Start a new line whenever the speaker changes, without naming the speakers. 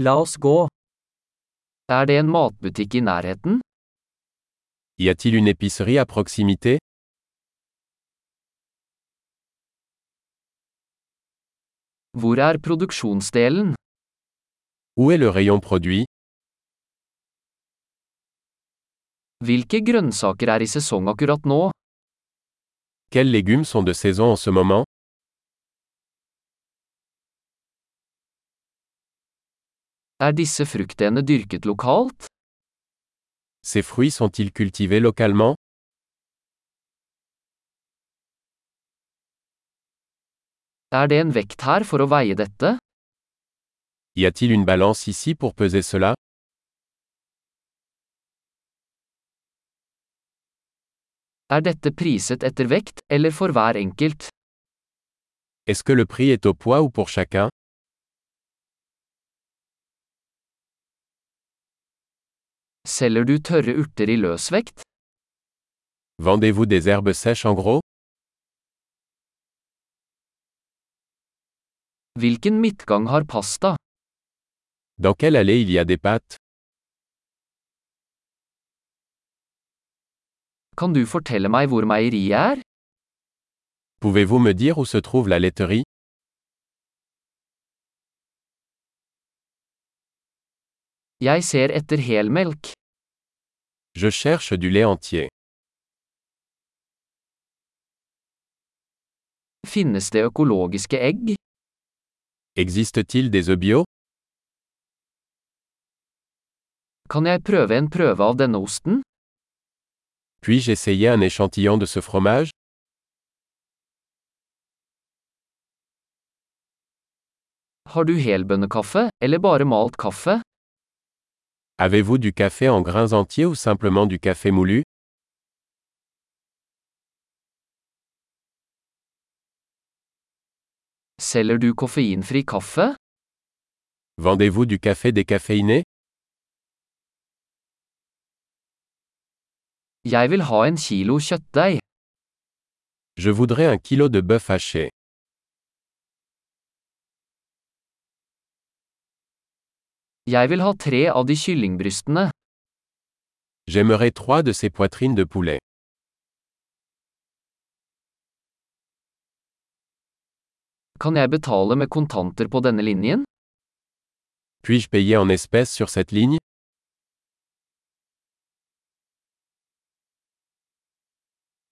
La oss gå. Er det en matbutikk i nærheten?
Y a-t-il une épicerie à proximité
Hvor er produksjonsdelen?
Où est le rayon produit
Hvilke grønnsaker er i sesong akkurat nå?
Quels légumes sont de saison en ce moment
Er disse fruktene dyrket lokalt?
Ces fruits sont-ils cultivés localement
Er det en vekt her for å veie dette?
Y a-t-il une balance ici pour peser cela
Er dette priset etter vekt, eller for hver enkelt?
Est-ce que le prix est au poids ou pour chacun
Selger du tørre urter i løsvekt?
Vendez-vous des herbes sèches en gros
Hvilken midtgang har pasta?
Dans quelle allée il y a des pâtes
Kan du fortelle meg hvor meieriet er?
Pouvez-vous me dire où se trouve la laiterie
Jeg ser etter helmelk.
Je cherche du lait entier.
Finnes det økologiske egg?
Existe-t-il des œufs bio
Kan jeg prøve en prøve av denne osten?
Puis-je essayer un échantillon de ce fromage
Har du helbønnekaffe, eller bare malt kaffe?
Avez-vous du café en grains entiers ou simplement du café moulu
Selger du koffeinfri kaffe?
Vendez-vous du café décaféiné
Jeg vil ha en kilo kjøttdeig.
Je voudrais un kilo de bœuf haché.
Jeg vil ha tre av de kyllingbrystene.
J'aimerais trois de ces poitrines de poulet.
Kan jeg betale med kontanter på denne linjen?
Puis-je payer en espèces sur cette ligne